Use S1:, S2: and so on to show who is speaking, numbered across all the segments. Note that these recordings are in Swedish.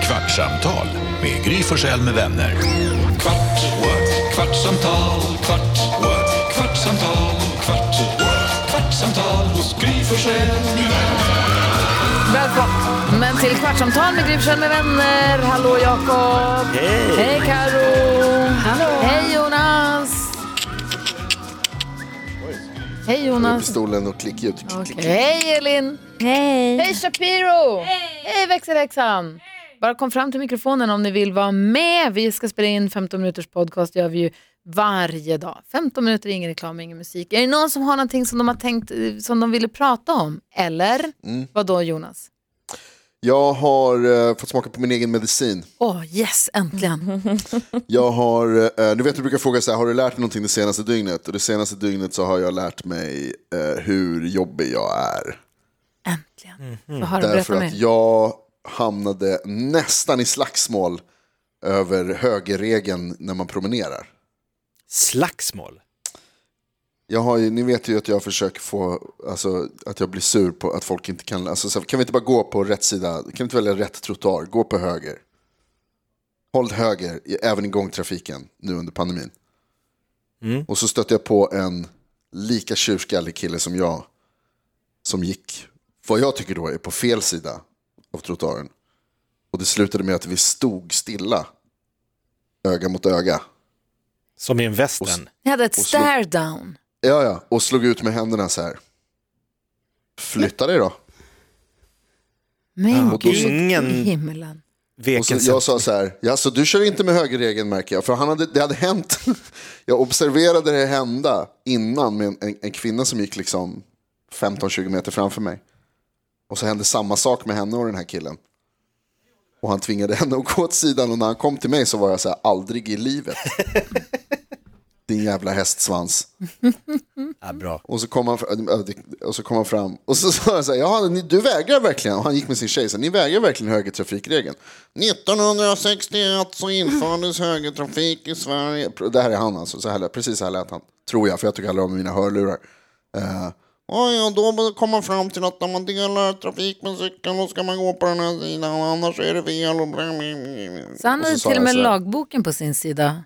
S1: kvartsamtal med Gry Forssell med vänner. Kvart, what? kvartsamtal, kvart, what? kvartsamtal, kvart, what? kvartsamtal hos Gry Forssell med vänner.
S2: Välkommen till Kvartsamtal med Gry Forssell med vänner. Hallå Jakob. Hej. Hej Karo. Hallå. Hej Jonas. Hej Jonas.
S3: pistolen och klickljud. Klick, klick.
S2: Hej Elin. Hej. Hej Shapiro. Hej, växelhäxan. Bara kom fram till mikrofonen om ni vill vara med. Vi ska spela in 15 minuters podcast, gör vi ju varje dag. 15 minuter, ingen reklam, ingen musik. Är det någon som har någonting som de har tänkt, eh, som de ville prata om? Eller? Vad då Jonas?
S3: Jag har eh, fått smaka på min egen medicin.
S2: Åh, yes, äntligen.
S3: Jag har, eh, du vet du brukar fråga så här, har du lärt dig någonting det senaste dygnet? Och det senaste dygnet så har jag lärt mig eh, hur jobbig jag är.
S2: Äntligen. Vad har du
S3: Mhm. Därför
S2: berättat mer?
S3: att jag hamnade nästan i slagsmål över högerregeln när man promenerar.
S4: Slagsmål?
S3: Jag har ju, ni vet ju att jag försöker få, alltså, att jag blir sur på att folk inte kan, alltså, så här, kan vi inte bara gå på rätt sida, kan vi inte välja rätt trottoar, gå på höger. Håll höger, i- även i gångtrafiken nu under pandemin. Och så stötte jag på en lika tjurskallig kille som jag, som gick, vad jag tycker då är på fel sida av trottoaren. Och det slutade med att vi stod stilla, öga mot öga.
S4: Som i en western?
S2: Ni hade ett
S3: slå-
S2: stare down.
S3: Ja, ja, och slog ut med händerna så här. Flytta dig då.
S2: Men
S3: Och då
S2: gud
S3: så-
S2: i
S4: Ingen-
S2: himlen.
S3: Och
S4: Veken
S3: så, jag sa så här, ja, så du kör inte med högerregeln märker jag. För han hade, det hade hänt, jag observerade det hända innan med en, en, en kvinna som gick liksom 15-20 meter framför mig. Och så hände samma sak med henne och den här killen. Och han tvingade henne att gå åt sidan och när han kom till mig så var jag så här, aldrig i livet. Din jävla hästsvans.
S4: ja, bra.
S3: Och så kom han, fr- och så kom han fram och så sa han så här, Jaha, ni, du vägrar verkligen, och han gick med sin tjej, så här, ni vägrar verkligen högertrafikregeln. 1961 så infördes högertrafik i Sverige. Det här är han alltså, så här, lät- precis så här lät han, tror jag, för jag tog aldrig av mig mina hörlurar. Uh, ja, då kom man fram till att när man delar trafik med cykeln då ska man gå på den här sidan, annars är det fel. Och bla, bla, bla, bla.
S2: Så han
S3: Och så
S2: hade
S3: sa
S2: till och
S3: jag
S2: med
S3: så här,
S2: lagboken på sin sida.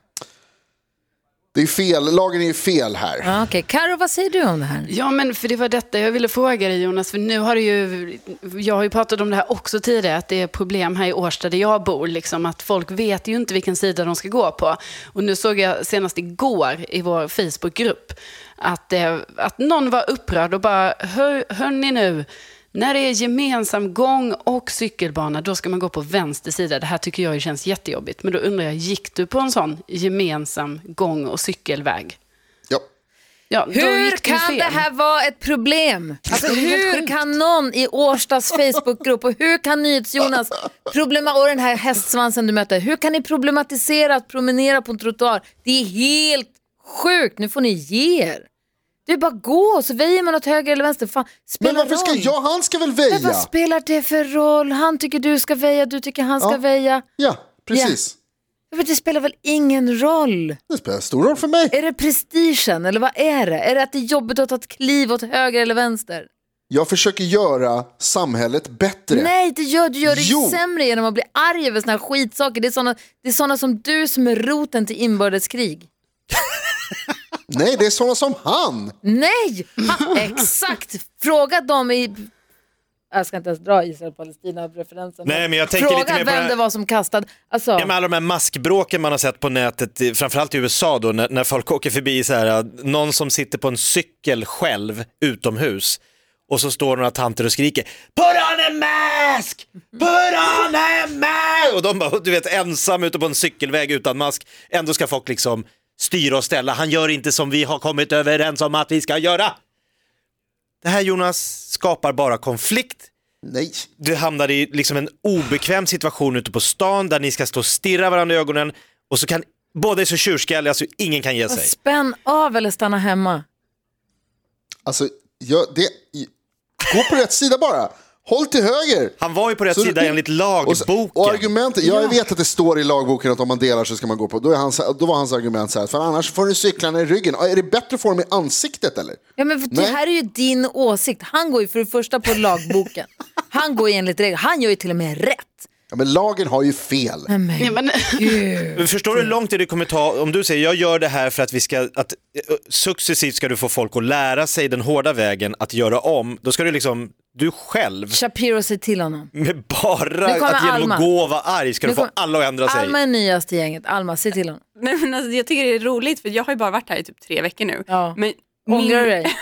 S3: Det är fel, lagen är ju fel här.
S2: Ja, Okej, Karo, vad säger du om det här?
S5: Ja, men för det var detta jag ville fråga dig Jonas, för nu har det ju, jag har ju pratat om det här också tidigare, att det är problem här i Årsta där jag bor, liksom, att folk vet ju inte vilken sida de ska gå på. Och nu såg jag senast igår i vår Facebookgrupp att, eh, att någon var upprörd och bara, hör, hör ni nu, när det är gemensam gång och cykelbana, då ska man gå på vänster sida. Det här tycker jag ju känns jättejobbigt. Men då undrar jag, gick du på en sån gemensam gång och cykelväg?
S3: Ja.
S5: Ja, då
S2: Hur
S5: gick du ju
S2: kan
S5: fel.
S2: det här vara ett problem? Alltså, hur kan någon i Årstas Facebookgrupp och hur kan NyhetsJonas problema och den här hästsvansen du möter, hur kan ni problematisera att promenera på en trottoar? Det är helt sjukt, nu får ni ge er. Det är bara att gå, så väjer man åt höger eller vänster. Fan, spelar
S3: Men varför ska
S2: roll.
S3: jag, han ska väl
S2: Men
S3: väja?
S2: vad spelar det för roll? Han tycker du ska väja, du tycker han ska
S3: Ja.
S2: väja.
S3: Ja, precis.
S2: Men Det spelar väl ingen roll?
S3: Det spelar stor roll för mig.
S2: Är det prestigen eller vad är det? Är det att det är jobbigt att ta ett kliv åt höger eller vänster?
S3: Jag försöker göra samhället bättre.
S2: Nej, det gör, du gör det
S3: Jo.
S2: sämre genom att bli arg över såna här skitsaker. Det är såna, det är såna som du som är roten till inbördeskrig.
S3: Nej, det är sådana som han.
S2: Nej! Ha, exakt! Fråga dem i... Jag ska inte ens dra Israel-Palestina-referensen.
S4: Nej, men jag tänker
S2: Fråga
S4: lite mer på
S2: vem
S4: det här-
S2: det var som kastade. Alltså,
S4: Ja, men alla de här maskbråken man har sett på nätet, i- framförallt i USA då, när, när folk åker förbi så här, att någon som sitter på en cykel själv utomhus och så står några tanter och skriker Put on a mask! Put on a mask! Och de bara, du vet, ensam ute på en cykelväg utan mask. Ändå ska folk liksom styra och ställa. Han gör inte som vi har kommit överens om att vi ska göra. Det här Jonas skapar bara konflikt
S3: Nej.
S4: du hamnar i liksom en obekväm situation ute på stan där ni ska stå och stirra varandra i ögonen och så kan båda är så tjurskalliga så ingen kan ge sig.
S2: spänn av eller stanna hemma.
S3: Alltså, jag, det, i- gå på rätt sida bara. Håll till höger.
S4: Han var ju på rätt
S3: Så-
S4: sida enligt
S3: Och, så- och
S4: lagboken.
S3: argumentet, jag vet att det står i lagboken att om man delar så ska man gå på, då, är hans, då var hans argument så här, för annars får du cyklarna i ryggen. Är det bättre att få dem i ansiktet eller?
S2: Ja, men för det
S3: Nej.
S2: här är ju din åsikt. Han går ju för det första på lagboken. Han går ju enligt regler. Han gör ju till och med rätt.
S3: Ja, men lagen har ju fel.
S2: Nej, men
S5: Ja, men,
S2: gud.
S4: Men Förstår du hur lång tid det kommer ta om du säger jag gör det här för att vi ska, att eh, successivt ska du få folk att lära sig den hårda vägen att göra om, då ska du liksom, du själv
S2: Shapiro säger till honom.
S4: med bara
S2: Nu kommer
S4: att genom
S2: Alma.
S4: att gå och vara arg ska
S2: Nu
S4: du få
S2: kommer-
S4: alla att ändra sig.
S2: Alma är nyast i gänget. Alma, säg till honom.
S6: Nej, men alltså, jag tycker det är roligt för jag har ju bara varit här i typ tre veckor nu.
S2: Ja.
S6: Men
S2: Ångrar du dig?
S6: Nej,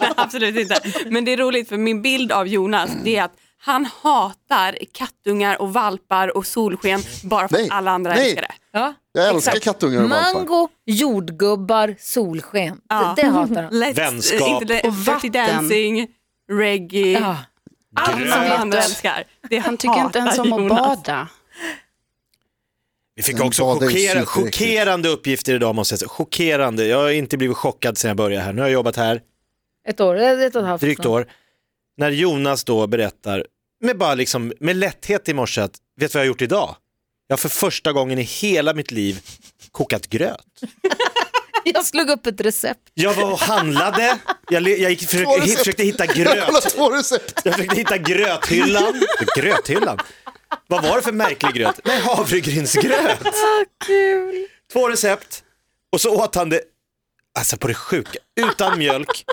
S6: absolut inte. Men det är roligt för min bild av Jonas det är att han hatar kattungar och valpar och solsken bara för
S3: Nej,
S6: att alla andra
S3: nej.
S6: älskar det.
S2: Ja.
S3: Jag älskar kattungar och valpar.
S2: Mango, jordgubbar, solsken.
S6: Ja.
S2: Det, det hatar han.
S6: Let's,
S4: Vänskap.
S6: Inte, le-
S5: Och
S6: Dirty
S5: vatten.
S6: dancing, reggae,
S2: Ja.
S6: allt som
S5: Gröt.
S6: han älskar. Det
S5: han tycker inte ens om att
S6: Jonas.
S5: bada.
S4: Vi fick
S3: Den
S4: också
S3: badar i
S4: chockera,
S3: sylt direkt.
S4: chockerande uppgifter idag måste jag säga. Chockerande, jag har inte blivit chockad sedan jag började här. Nu har jag jobbat här
S2: Ett år, ett ett och ett halvt.
S4: drygt
S2: snart.
S4: år. När Jonas då berättar, med bara liksom, med lätthet i morse att, vet du vad jag har gjort idag? Jag har för första gången i hela mitt liv kokat gröt.
S2: Jag slog upp ett recept.
S4: Jag var och handlade, jag, le- jag gick, försökte,
S3: Två recept.
S4: försökte hitta
S3: Jag har kollat
S4: gröt.
S3: två recept.
S4: Jag försökte hitta gröthyllan. Gröthyllan? Vad var det för märklig gröt? Nej, havregrynsgröt.
S2: Ah, Kul.
S4: Två recept och så åt han det, alltså på det sjuka, utan mjölk,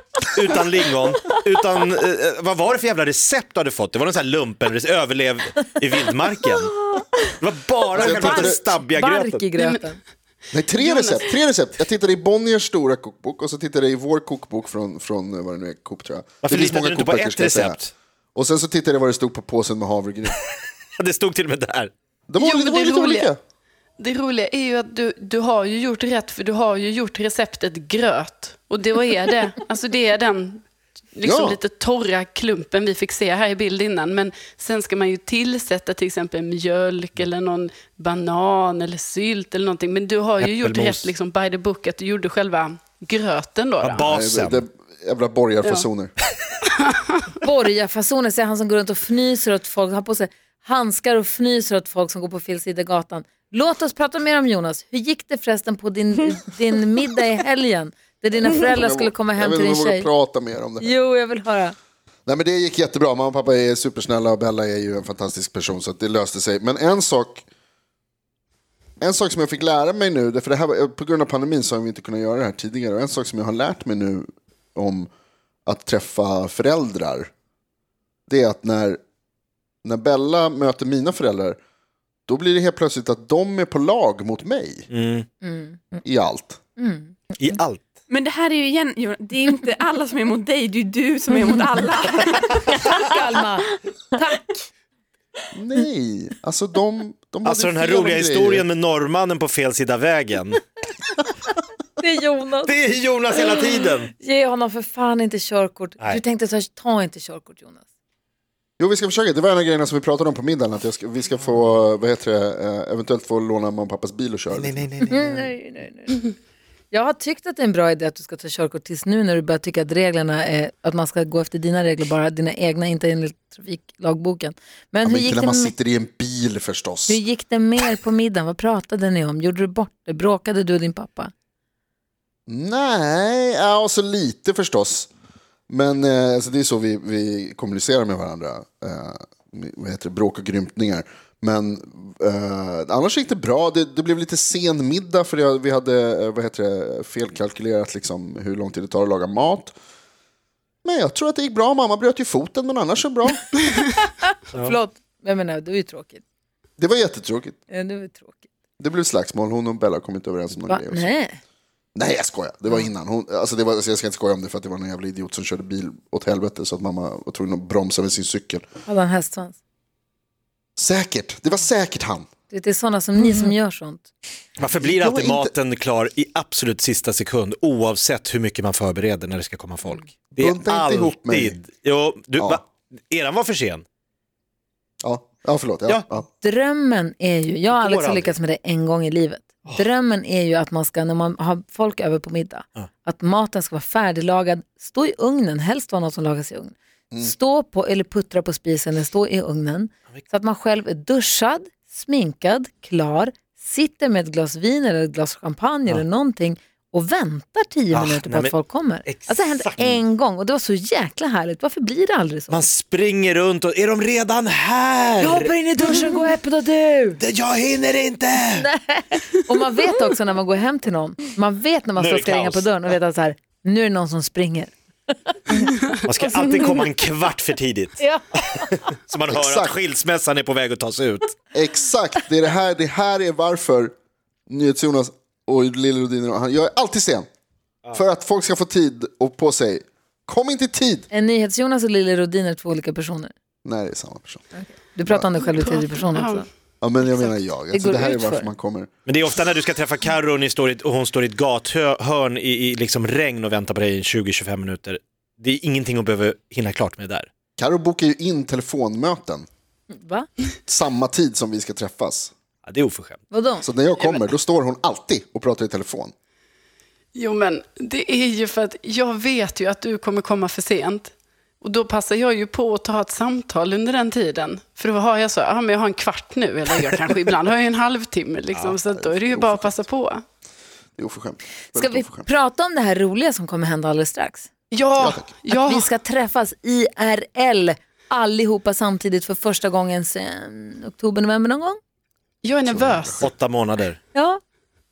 S4: utan lingon, utan, eh, eh, vad var det för jävla recept du hade fått? Det var någon sån här lumpen, överlev i vildmarken. Det var bara
S3: jag
S4: själva
S3: tittade-
S4: den stabbiga gröten.
S2: Bark i gröten.
S3: Nej, tre recept. Tre recept. Jag tittade i Bonniers stora kokbok och så tittade jag i vår kokbok från, från eh, vad det nu är, Coop tror jag.
S4: Varför
S3: det finns
S4: litade
S3: många
S4: du inte på
S3: kokböcker,
S4: ett
S3: ska jag säga.
S4: recept?
S3: Och sen så tittade jag vad det stod på påsen med havregryn.
S4: Det stod till och med där.
S3: De var,
S5: Jo, men
S3: det var
S5: det
S3: lite
S5: roliga-
S3: olika.
S5: Det roliga är ju att du, du har ju gjort rätt, för du har ju gjort receptet gröt. Och det vad är det. Alltså det är den liksom
S3: Ja.
S5: lite torra klumpen vi fick se här i bild innan. Men sen ska man ju tillsätta till exempel mjölk eller någon banan eller sylt eller någonting. Men du har ju gjort
S4: Äppelmos.
S5: rätt liksom by the book, att du gjorde själva gröten då. då.
S4: Basen.
S3: Det, det, jävla borgarfasoner.
S2: Borgarfasoner, säger han som går runt och fnyser åt folk, har på sig handskar och fnyser åt folk som går på fel sida av gatan. Låt oss prata mer om Jonas. Hur gick det förresten på din, din middag i helgen? Där dina föräldrar skulle komma hem
S3: jag
S2: till
S3: vill
S2: din
S3: inte
S2: tjej.
S3: prata mer om det. här.
S2: Jo, jag vill höra.
S3: Nej, men det gick jättebra. Mamma och pappa är supersnälla och Bella är ju en fantastisk person så att det löste sig. Men en sak, en sak som jag fick lära mig nu, för det här, på grund av pandemin så har vi inte kunnat göra det här tidigare. Och en sak som jag har lärt mig nu om att träffa föräldrar, det är att när, när Bella möter mina föräldrar, då blir det helt plötsligt att de är på lag mot mig
S4: Mm.
S3: i allt.
S4: I allt.
S6: Men det här är ju igen, Jonas, det är inte alla som är mot dig, det är ju du som är mot alla.
S2: Tack Alma.
S3: Nej, alltså de... de hade
S4: Alltså den här
S3: fel om
S4: roliga
S3: grejer.
S4: historien med norrmannen på fel sida vägen.
S2: Det är Jonas.
S4: Det är Jonas hela tiden.
S2: Ge honom för fan inte körkort.
S4: Nej.
S2: Du tänkte så här, ta inte körkort Jonas.
S3: Jo, vi ska försöka. Det var en av grejerna som vi pratade om på middagen. Att jag ska, vi ska få, vad heter det, eh, eventuellt få låna mamma och pappas bil och köra. lite.
S2: Nej, nej, nej. Mm. Jag har tyckt att det är en bra idé att du ska ta körkort tills nu när du börjar tycka att reglerna är att man ska gå efter dina regler bara, dina egna, inte enligt trafiklagboken. Men,
S3: Ja,
S2: hur,
S3: men
S2: gick
S3: inte när
S2: det
S3: man
S2: med,
S3: sitter i en bil förstås.
S2: hur gick det mer på middagen? Vad pratade ni om? Gjorde du bort det? Bråkade du och din pappa?
S3: Nej, ja, och så lite förstås. Men eh, alltså, det är så vi, vi kommunicerar med varandra. Eh, vad heter det? Bråk och grymtningar. Men eh, annars gick det bra. Det, det blev lite sen middag för jag, vi hade eh, vad heter det, felkalkylerat liksom, hur lång tid det tar att laga mat. Men jag tror att det gick bra. Mamma bröt ju foten, men annars så bra.
S2: Förlåt, jag menar, det var ju tråkigt.
S3: Det var jättetråkigt.
S2: Eh, Det var ju tråkigt.
S3: Det blev slagsmål. Hon och Bella kom inte överens om någon
S2: Va?
S3: grej. och så.
S2: Nej.
S3: Nej, jag skojar. Det var innan. Hon, alltså det var, alltså jag ska inte skoja om det för att det var någon jävla idiot som körde bil åt helvete så att mamma var tvungen att bromsa med sin cykel.
S2: Hade han hästsvans?
S3: Säkert. Det var säkert han.
S2: Du vet, Det är sådana som ni som gör sånt.
S4: Varför blir
S3: Jag
S4: alltid
S3: är inte-
S4: maten klar i absolut sista sekund oavsett hur mycket man förbereder när det ska komma folk? Det är
S3: Bunta inte
S4: alltid...
S3: ihop mig.
S4: Jo, du,
S3: Ja.
S4: va? Eran var för sen.
S3: Ja, ja förlåt. Ja,
S4: Ja.
S3: ja.
S2: Drömmen är ju, jag och
S4: Det går
S2: Alex har
S4: aldrig.
S2: lyckats med det en gång i livet. Drömmen är ju att man ska, när man har folk över på middag, att maten ska vara färdiglagad, stå i ugnen, helst vara något som lagas i ugn.
S4: Mm.
S2: Stå på, eller puttra på spisen, eller stå i ugnen. Så att man själv är duschad, sminkad, klar, sitter med ett glas vin eller ett glas champagne eller någonting och väntar tio
S4: Ah,
S2: minuter på
S4: nej,
S2: att
S4: men-
S2: folk kommer. Alltså det hände
S4: Exakt.
S2: en gång och det var så jäkla härligt. Varför blir det aldrig så?
S4: Man springer runt och är de redan här?
S2: Jag hoppar in i duschen, gå och öppna du!
S4: Det- Jag hinner inte!
S2: Och man vet också när man går hem till någon, man vet när man
S4: Nu är
S2: står och
S4: det
S2: ska ringa på
S4: kaos.
S2: dörren och vet att så här, nu är det någon som springer.
S4: Man ska alltid komma en kvart för tidigt.
S2: Ja.
S4: Så man hör att
S3: Exakt.
S4: skilsmässan är på väg att tas ut.
S3: Exakt, det, är det, här, det här är varför NyhetsJonas och Lille Rodiner och han, jag är alltid sen. För att folk ska få tid och på sig. Kom inte i tid!
S2: En NyhetsJonas och Lili Rodin är två olika personer.
S3: Nej, det är samma person.
S2: Du pratar om dig själv i tredje person också.
S3: Ja, men jag menar jag. Alltså,
S2: går
S3: det här är
S2: ut för.
S3: varför man kommer.
S4: Men det är ofta när du ska träffa Carro och, ni står i- och hon står i ett gathörn i, i liksom regn och väntar på dig i 20-25 minuter. Det är ingenting hon behöver hinna klart med där.
S3: Karo bokar ju in telefonmöten
S2: Va?
S3: samma tid som vi ska träffas.
S4: Ja, det är oförskämt.
S2: Vadå?
S3: Så när jag kommer, då står hon alltid och pratar i telefon.
S5: Jo, men det är ju för att jag vet ju att du kommer komma för sent. Och då passar jag ju på att ta ett samtal under den tiden. För då har jag så, ja men jag har en kvart nu, eller jag kanske ibland har jag en halvtimme liksom. så att då är det ju bara att passa på.
S3: Det är oförskämt.
S2: Ska
S3: Väldigt
S2: vi
S3: oförskämt.
S2: prata om det här roliga som kommer hända alldeles strax?
S5: Ja, ja.
S2: Vi ska träffas IRL allihopa samtidigt för första gången sen oktober, november någon gång.
S5: jag är nervös.
S4: Åtta månader.
S2: Ja,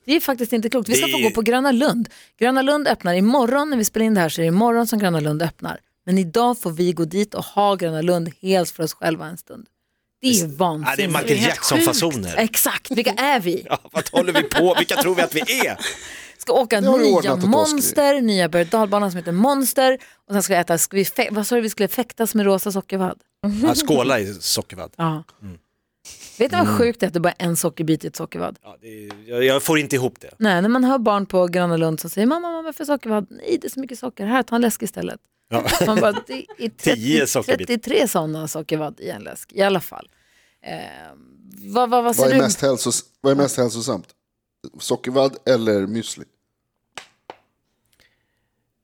S2: det är faktiskt inte klokt. Vi ska
S4: Det-
S2: få gå på Gröna Lund. Gröna Lund öppnar imorgon, när vi spelar in det här så är det imorgon som Gröna Lund öppnar. Men idag får vi gå dit och ha Gröna Lund helt för oss själva en stund. Det är
S4: Ja, det är
S2: vansinnigt.
S4: Michael Jackson-fasoner.
S2: Exakt, vilka är vi?
S4: Ja, vad håller vi på? Vilka tror vi att vi är?
S2: Ska åka
S3: Det har du
S2: nya
S3: ordnat åt oss,
S2: monster, nya berg och dalbanan som heter Monster och sen ska vi äta, ska vi fä- vad sa du, vi skulle fäktas med rosa sockervadd?
S4: Ja, skåla i sockervadd.
S2: Ja. Vet du vad sjukt det är att det bara är en sockerbit i ett sockervadd?
S4: Ja, det är, jag, jag får inte ihop det.
S2: Nej, när man hör barn på Gröna Lund som säger mamma, mamma, varför sockervadd? Nej, det är så mycket socker, här, ta en läsk istället. Man bara, det är 30,
S4: Tio sockerbitar.
S2: 33 sådana sockervadd i en läsk, i alla fall. Eh, vad, vad, vad
S3: Vad
S2: ser
S3: är,
S2: du?
S3: mest hälsos- vad är mest hälsosamt? Sockervadd eller müsli?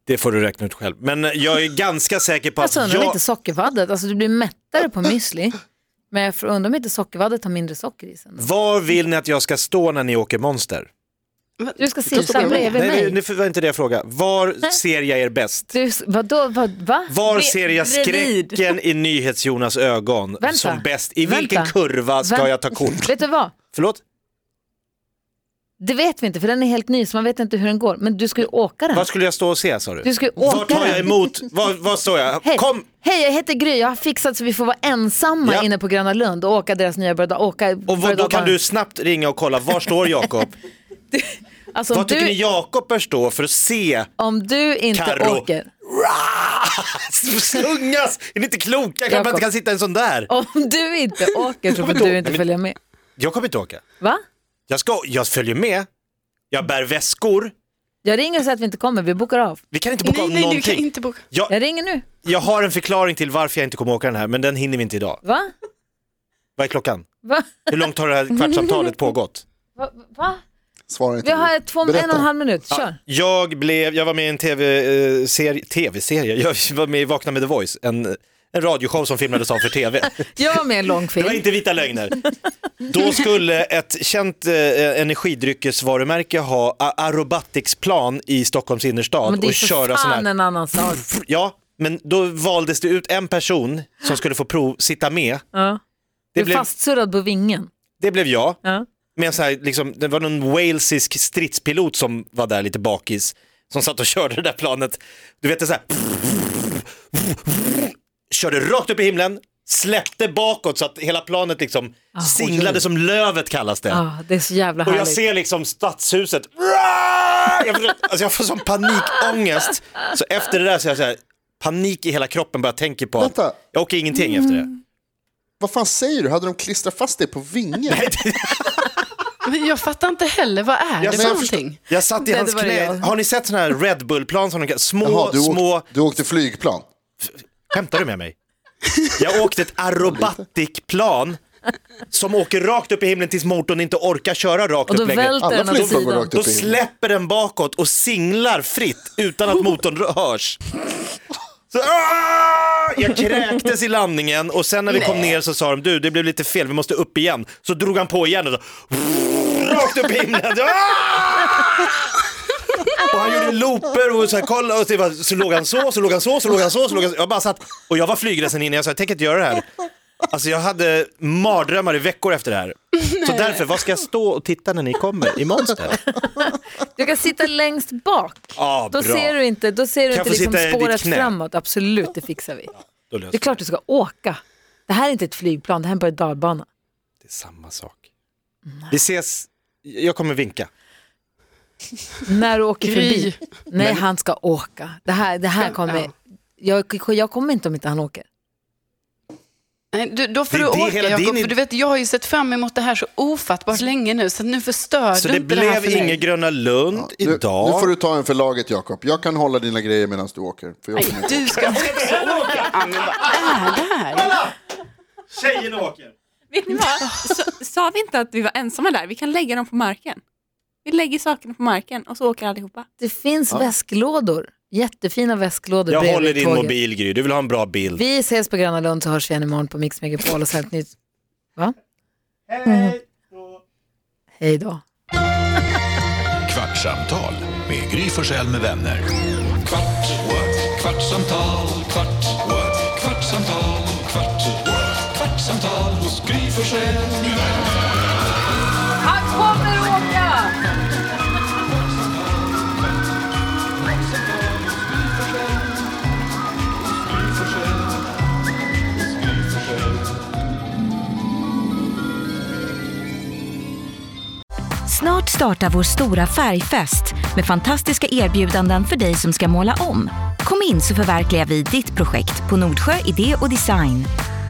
S4: Det får du räkna ut själv. Men eh, jag är ganska säker på att
S2: Alltså, undrar om
S4: jag...
S2: inte sockervaddet, alltså du blir mättare på müsli, men jag undrar om inte sockervaddet har mindre socker i sig. ändå.
S4: Var vill ni att jag ska stå när ni åker Monster?
S2: Du ska sitta
S3: stå bredvid.
S2: bredvid
S4: Nej,
S2: mig.
S4: nu var inte det jag frågade. Var ser jag er bäst?
S2: Du, vadå, vad, va?
S4: Var
S6: Bre-
S4: ser jag
S6: bredvid.
S4: skräcken i NyhetsJonas ögon
S2: Vänta.
S4: som bäst? I vilken
S2: Vänta.
S4: kurva ska
S2: Vem-
S4: jag ta kort?
S2: Vet du vad?
S4: Förlåt?
S2: Det vet vi inte, för den är helt ny, så man vet inte hur den går. Men du ska ju åka den.
S4: Var skulle jag stå och se sa du?
S2: Du ska ju
S4: Var
S2: åka
S4: tar jag
S2: den.
S4: emot? Var, var står jag?
S2: Hej,
S4: Kom!
S2: hej, jag heter Gry, jag har fixat så vi får vara ensamma
S4: Ja.
S2: inne på Gröna Lund och åka deras nya berg åka
S4: Och vad, då kan du snabbt ringa och kolla, var står Jakob?
S2: alltså, om,
S4: Var tycker ni
S2: du,
S4: Jakob bör stå för att se
S2: om du inte
S4: Karo?
S2: åker,
S4: slungas? Är ni inte kloka? Jag kanske
S2: Jakob.
S4: inte kan sitta i en sån där.
S2: om du inte åker så får du inte följa med.
S4: Jag kommer inte åka.
S2: Va?
S4: Jag, ska, jag följer med. Jag bär väskor.
S2: Jag ringer och säger att vi inte kommer, vi bokar av.
S4: Vi kan inte boka
S5: Nej,
S4: av
S5: nej, du kan
S4: någonting.
S5: inte boka.
S4: Jag,
S2: Jag ringer nu.
S4: jag har en förklaring till varför jag inte kommer åka den här, men den hinner vi inte idag.
S2: Va?
S4: Vad är klockan?
S2: Va?
S4: Hur långt har det här kvartsamtalet pågått?
S2: Va? Va?
S3: Svara inte.
S2: Vi har
S3: Gry.
S2: två, en och
S3: Berätta.
S2: en halv minut, kör.
S4: Jag, blev, jag var med i en tv-serie, tv-serie, jag var med i Vakna med The Voice, en, en radioshow som filmades av för tv.
S2: Jag var med i en lång
S4: Det var
S2: film.
S4: inte vita lögner. Då skulle ett känt eh, energidryckesvarumärke ha a- aerobaticsplan i Stockholms innerstad
S2: Men det är
S4: och
S2: för
S4: köra sån
S2: fan
S4: här.
S2: en annan sak.
S4: Ja, men då valdes det ut en person som skulle få prov, sitta med.
S2: Ja. Du
S4: Det
S2: är
S4: blev,
S2: fastsurrad på vingen.
S4: det blev jag.
S2: Ja.
S4: Med en så här, liksom, det var någon walesisk stridspilot som var där lite bakis. Som satt och körde det där planet. Du vet det så här. Körde rakt upp i himlen. Släppte bakåt så att hela planet liksom singlade som lövet kallas det.
S2: Ah, det är så jävla
S4: Och jag
S2: härligt.
S4: ser liksom stadshuset. Jag, får- alltså jag får sån panikångest. Så efter det där så är jag så här, panik i hela kroppen bara tänker på att
S3: Vänta.
S4: jag åker ingenting efter
S2: Mm.
S4: det.
S3: Vad fan säger du? Hade de klistrat fast dig på vingen?
S5: Men jag fattar inte heller, vad
S4: Jag
S5: är det för
S4: sa-
S5: någonting?
S4: Jag satt i
S2: Nej,
S4: hans
S2: det var det jag.
S4: knä. Har ni sett såna här Red Bull-plan som de kan, små,
S3: Jaha, du,
S4: små,
S3: åkte, du åkte flygplan?
S4: skämtar du med mig? Jag åkte ett aerobatikplan som åker rakt upp i himlen tills motorn inte orkar köra rakt
S2: Och då
S4: upp längre.
S2: välter
S3: Alla
S2: den åt
S3: flygplan går
S2: sidan.
S3: rakt
S4: Då
S3: upp i himlen.
S4: släpper den bakåt och singlar fritt utan att motorn hörs. Så, "Aah!" jag kräktes i landningen och sen när vi kom ner så sa de du det blev lite fel, vi måste upp igen. Så drog han på igen och så, rakt upp i himlen. "Aah!" Och han gjorde looper och så här, kolla och det var, så låg han så, så låg han så, så låg han så, så låg han så. Jag bara satt, och jag var flygräsen innan jag sa jag tänker inte göra det här. Alltså jag hade mardrömmar i veckor efter det här. Så därför, vad ska jag stå och titta när ni kommer i Monster?
S2: Du kan sitta längst bak.
S4: Ja,
S2: Då
S4: bra.
S2: ser du inte, då ser du
S4: Kan
S2: inte
S4: jag få
S2: liksom
S4: sitta i ditt
S2: spåret
S4: knä?
S2: framåt. Absolut, det fixar vi.
S4: Då löser
S2: Det är klart
S4: vi
S2: du ska åka. Det här är inte ett flygplan, det här är bara en dalbana.
S4: det är samma sak. Vi ses, jag kommer vinka.
S2: När du åker
S5: Gry.
S2: förbi. Nej, han ska åka. Det här, det här kommer... Jag, jag kommer inte om inte han åker.
S5: Nej, du, då får
S4: Det är
S5: du
S4: det
S5: åka
S4: hela
S5: Jakob,
S4: din-
S5: för du vet jag har ju sett fram emot det här så ofattbart länge nu så nu förstör
S4: Så
S5: du
S4: det
S5: inte det här
S4: blev
S5: för mig.
S4: inget Gröna Lund
S3: Nu, nu
S4: idag.
S3: får du ta en för laget, Jakob. Jag kan hålla dina grejer medan du åker. För jag
S5: Nej, du ska också åka. Ja, men vad är det här?
S4: Tjejerna åker!
S6: Vet ni vad? Så, sa vi inte att vi var ensamma där? Vi kan lägga dem på marken. Vi lägger sakerna på marken och så åker allihopa.
S2: Det finns väsklådor. Jättefina väsklådor
S4: Jag
S2: bredvid
S4: håller din
S2: tåget.
S4: mobil Gry, du vill ha en bra bild.
S2: Vi ses på Gröna Lund så hörs vi igen imorgon på Mix Megapol och sent nytt. Va? Mm. Hej då. Hej då.
S1: Kvartsamtal med Gry Forssell med vänner. Kvart, what? kvartsamtal, kvart, what? kvartsamtal, kvart, what? kvartsamtal hos Gry Forssell med vänner.
S7: Snart startar vår stora färgfest med fantastiska erbjudanden för dig som ska måla om. Kom in så förverkligar vi ditt projekt på Nordsjö Idé och Design.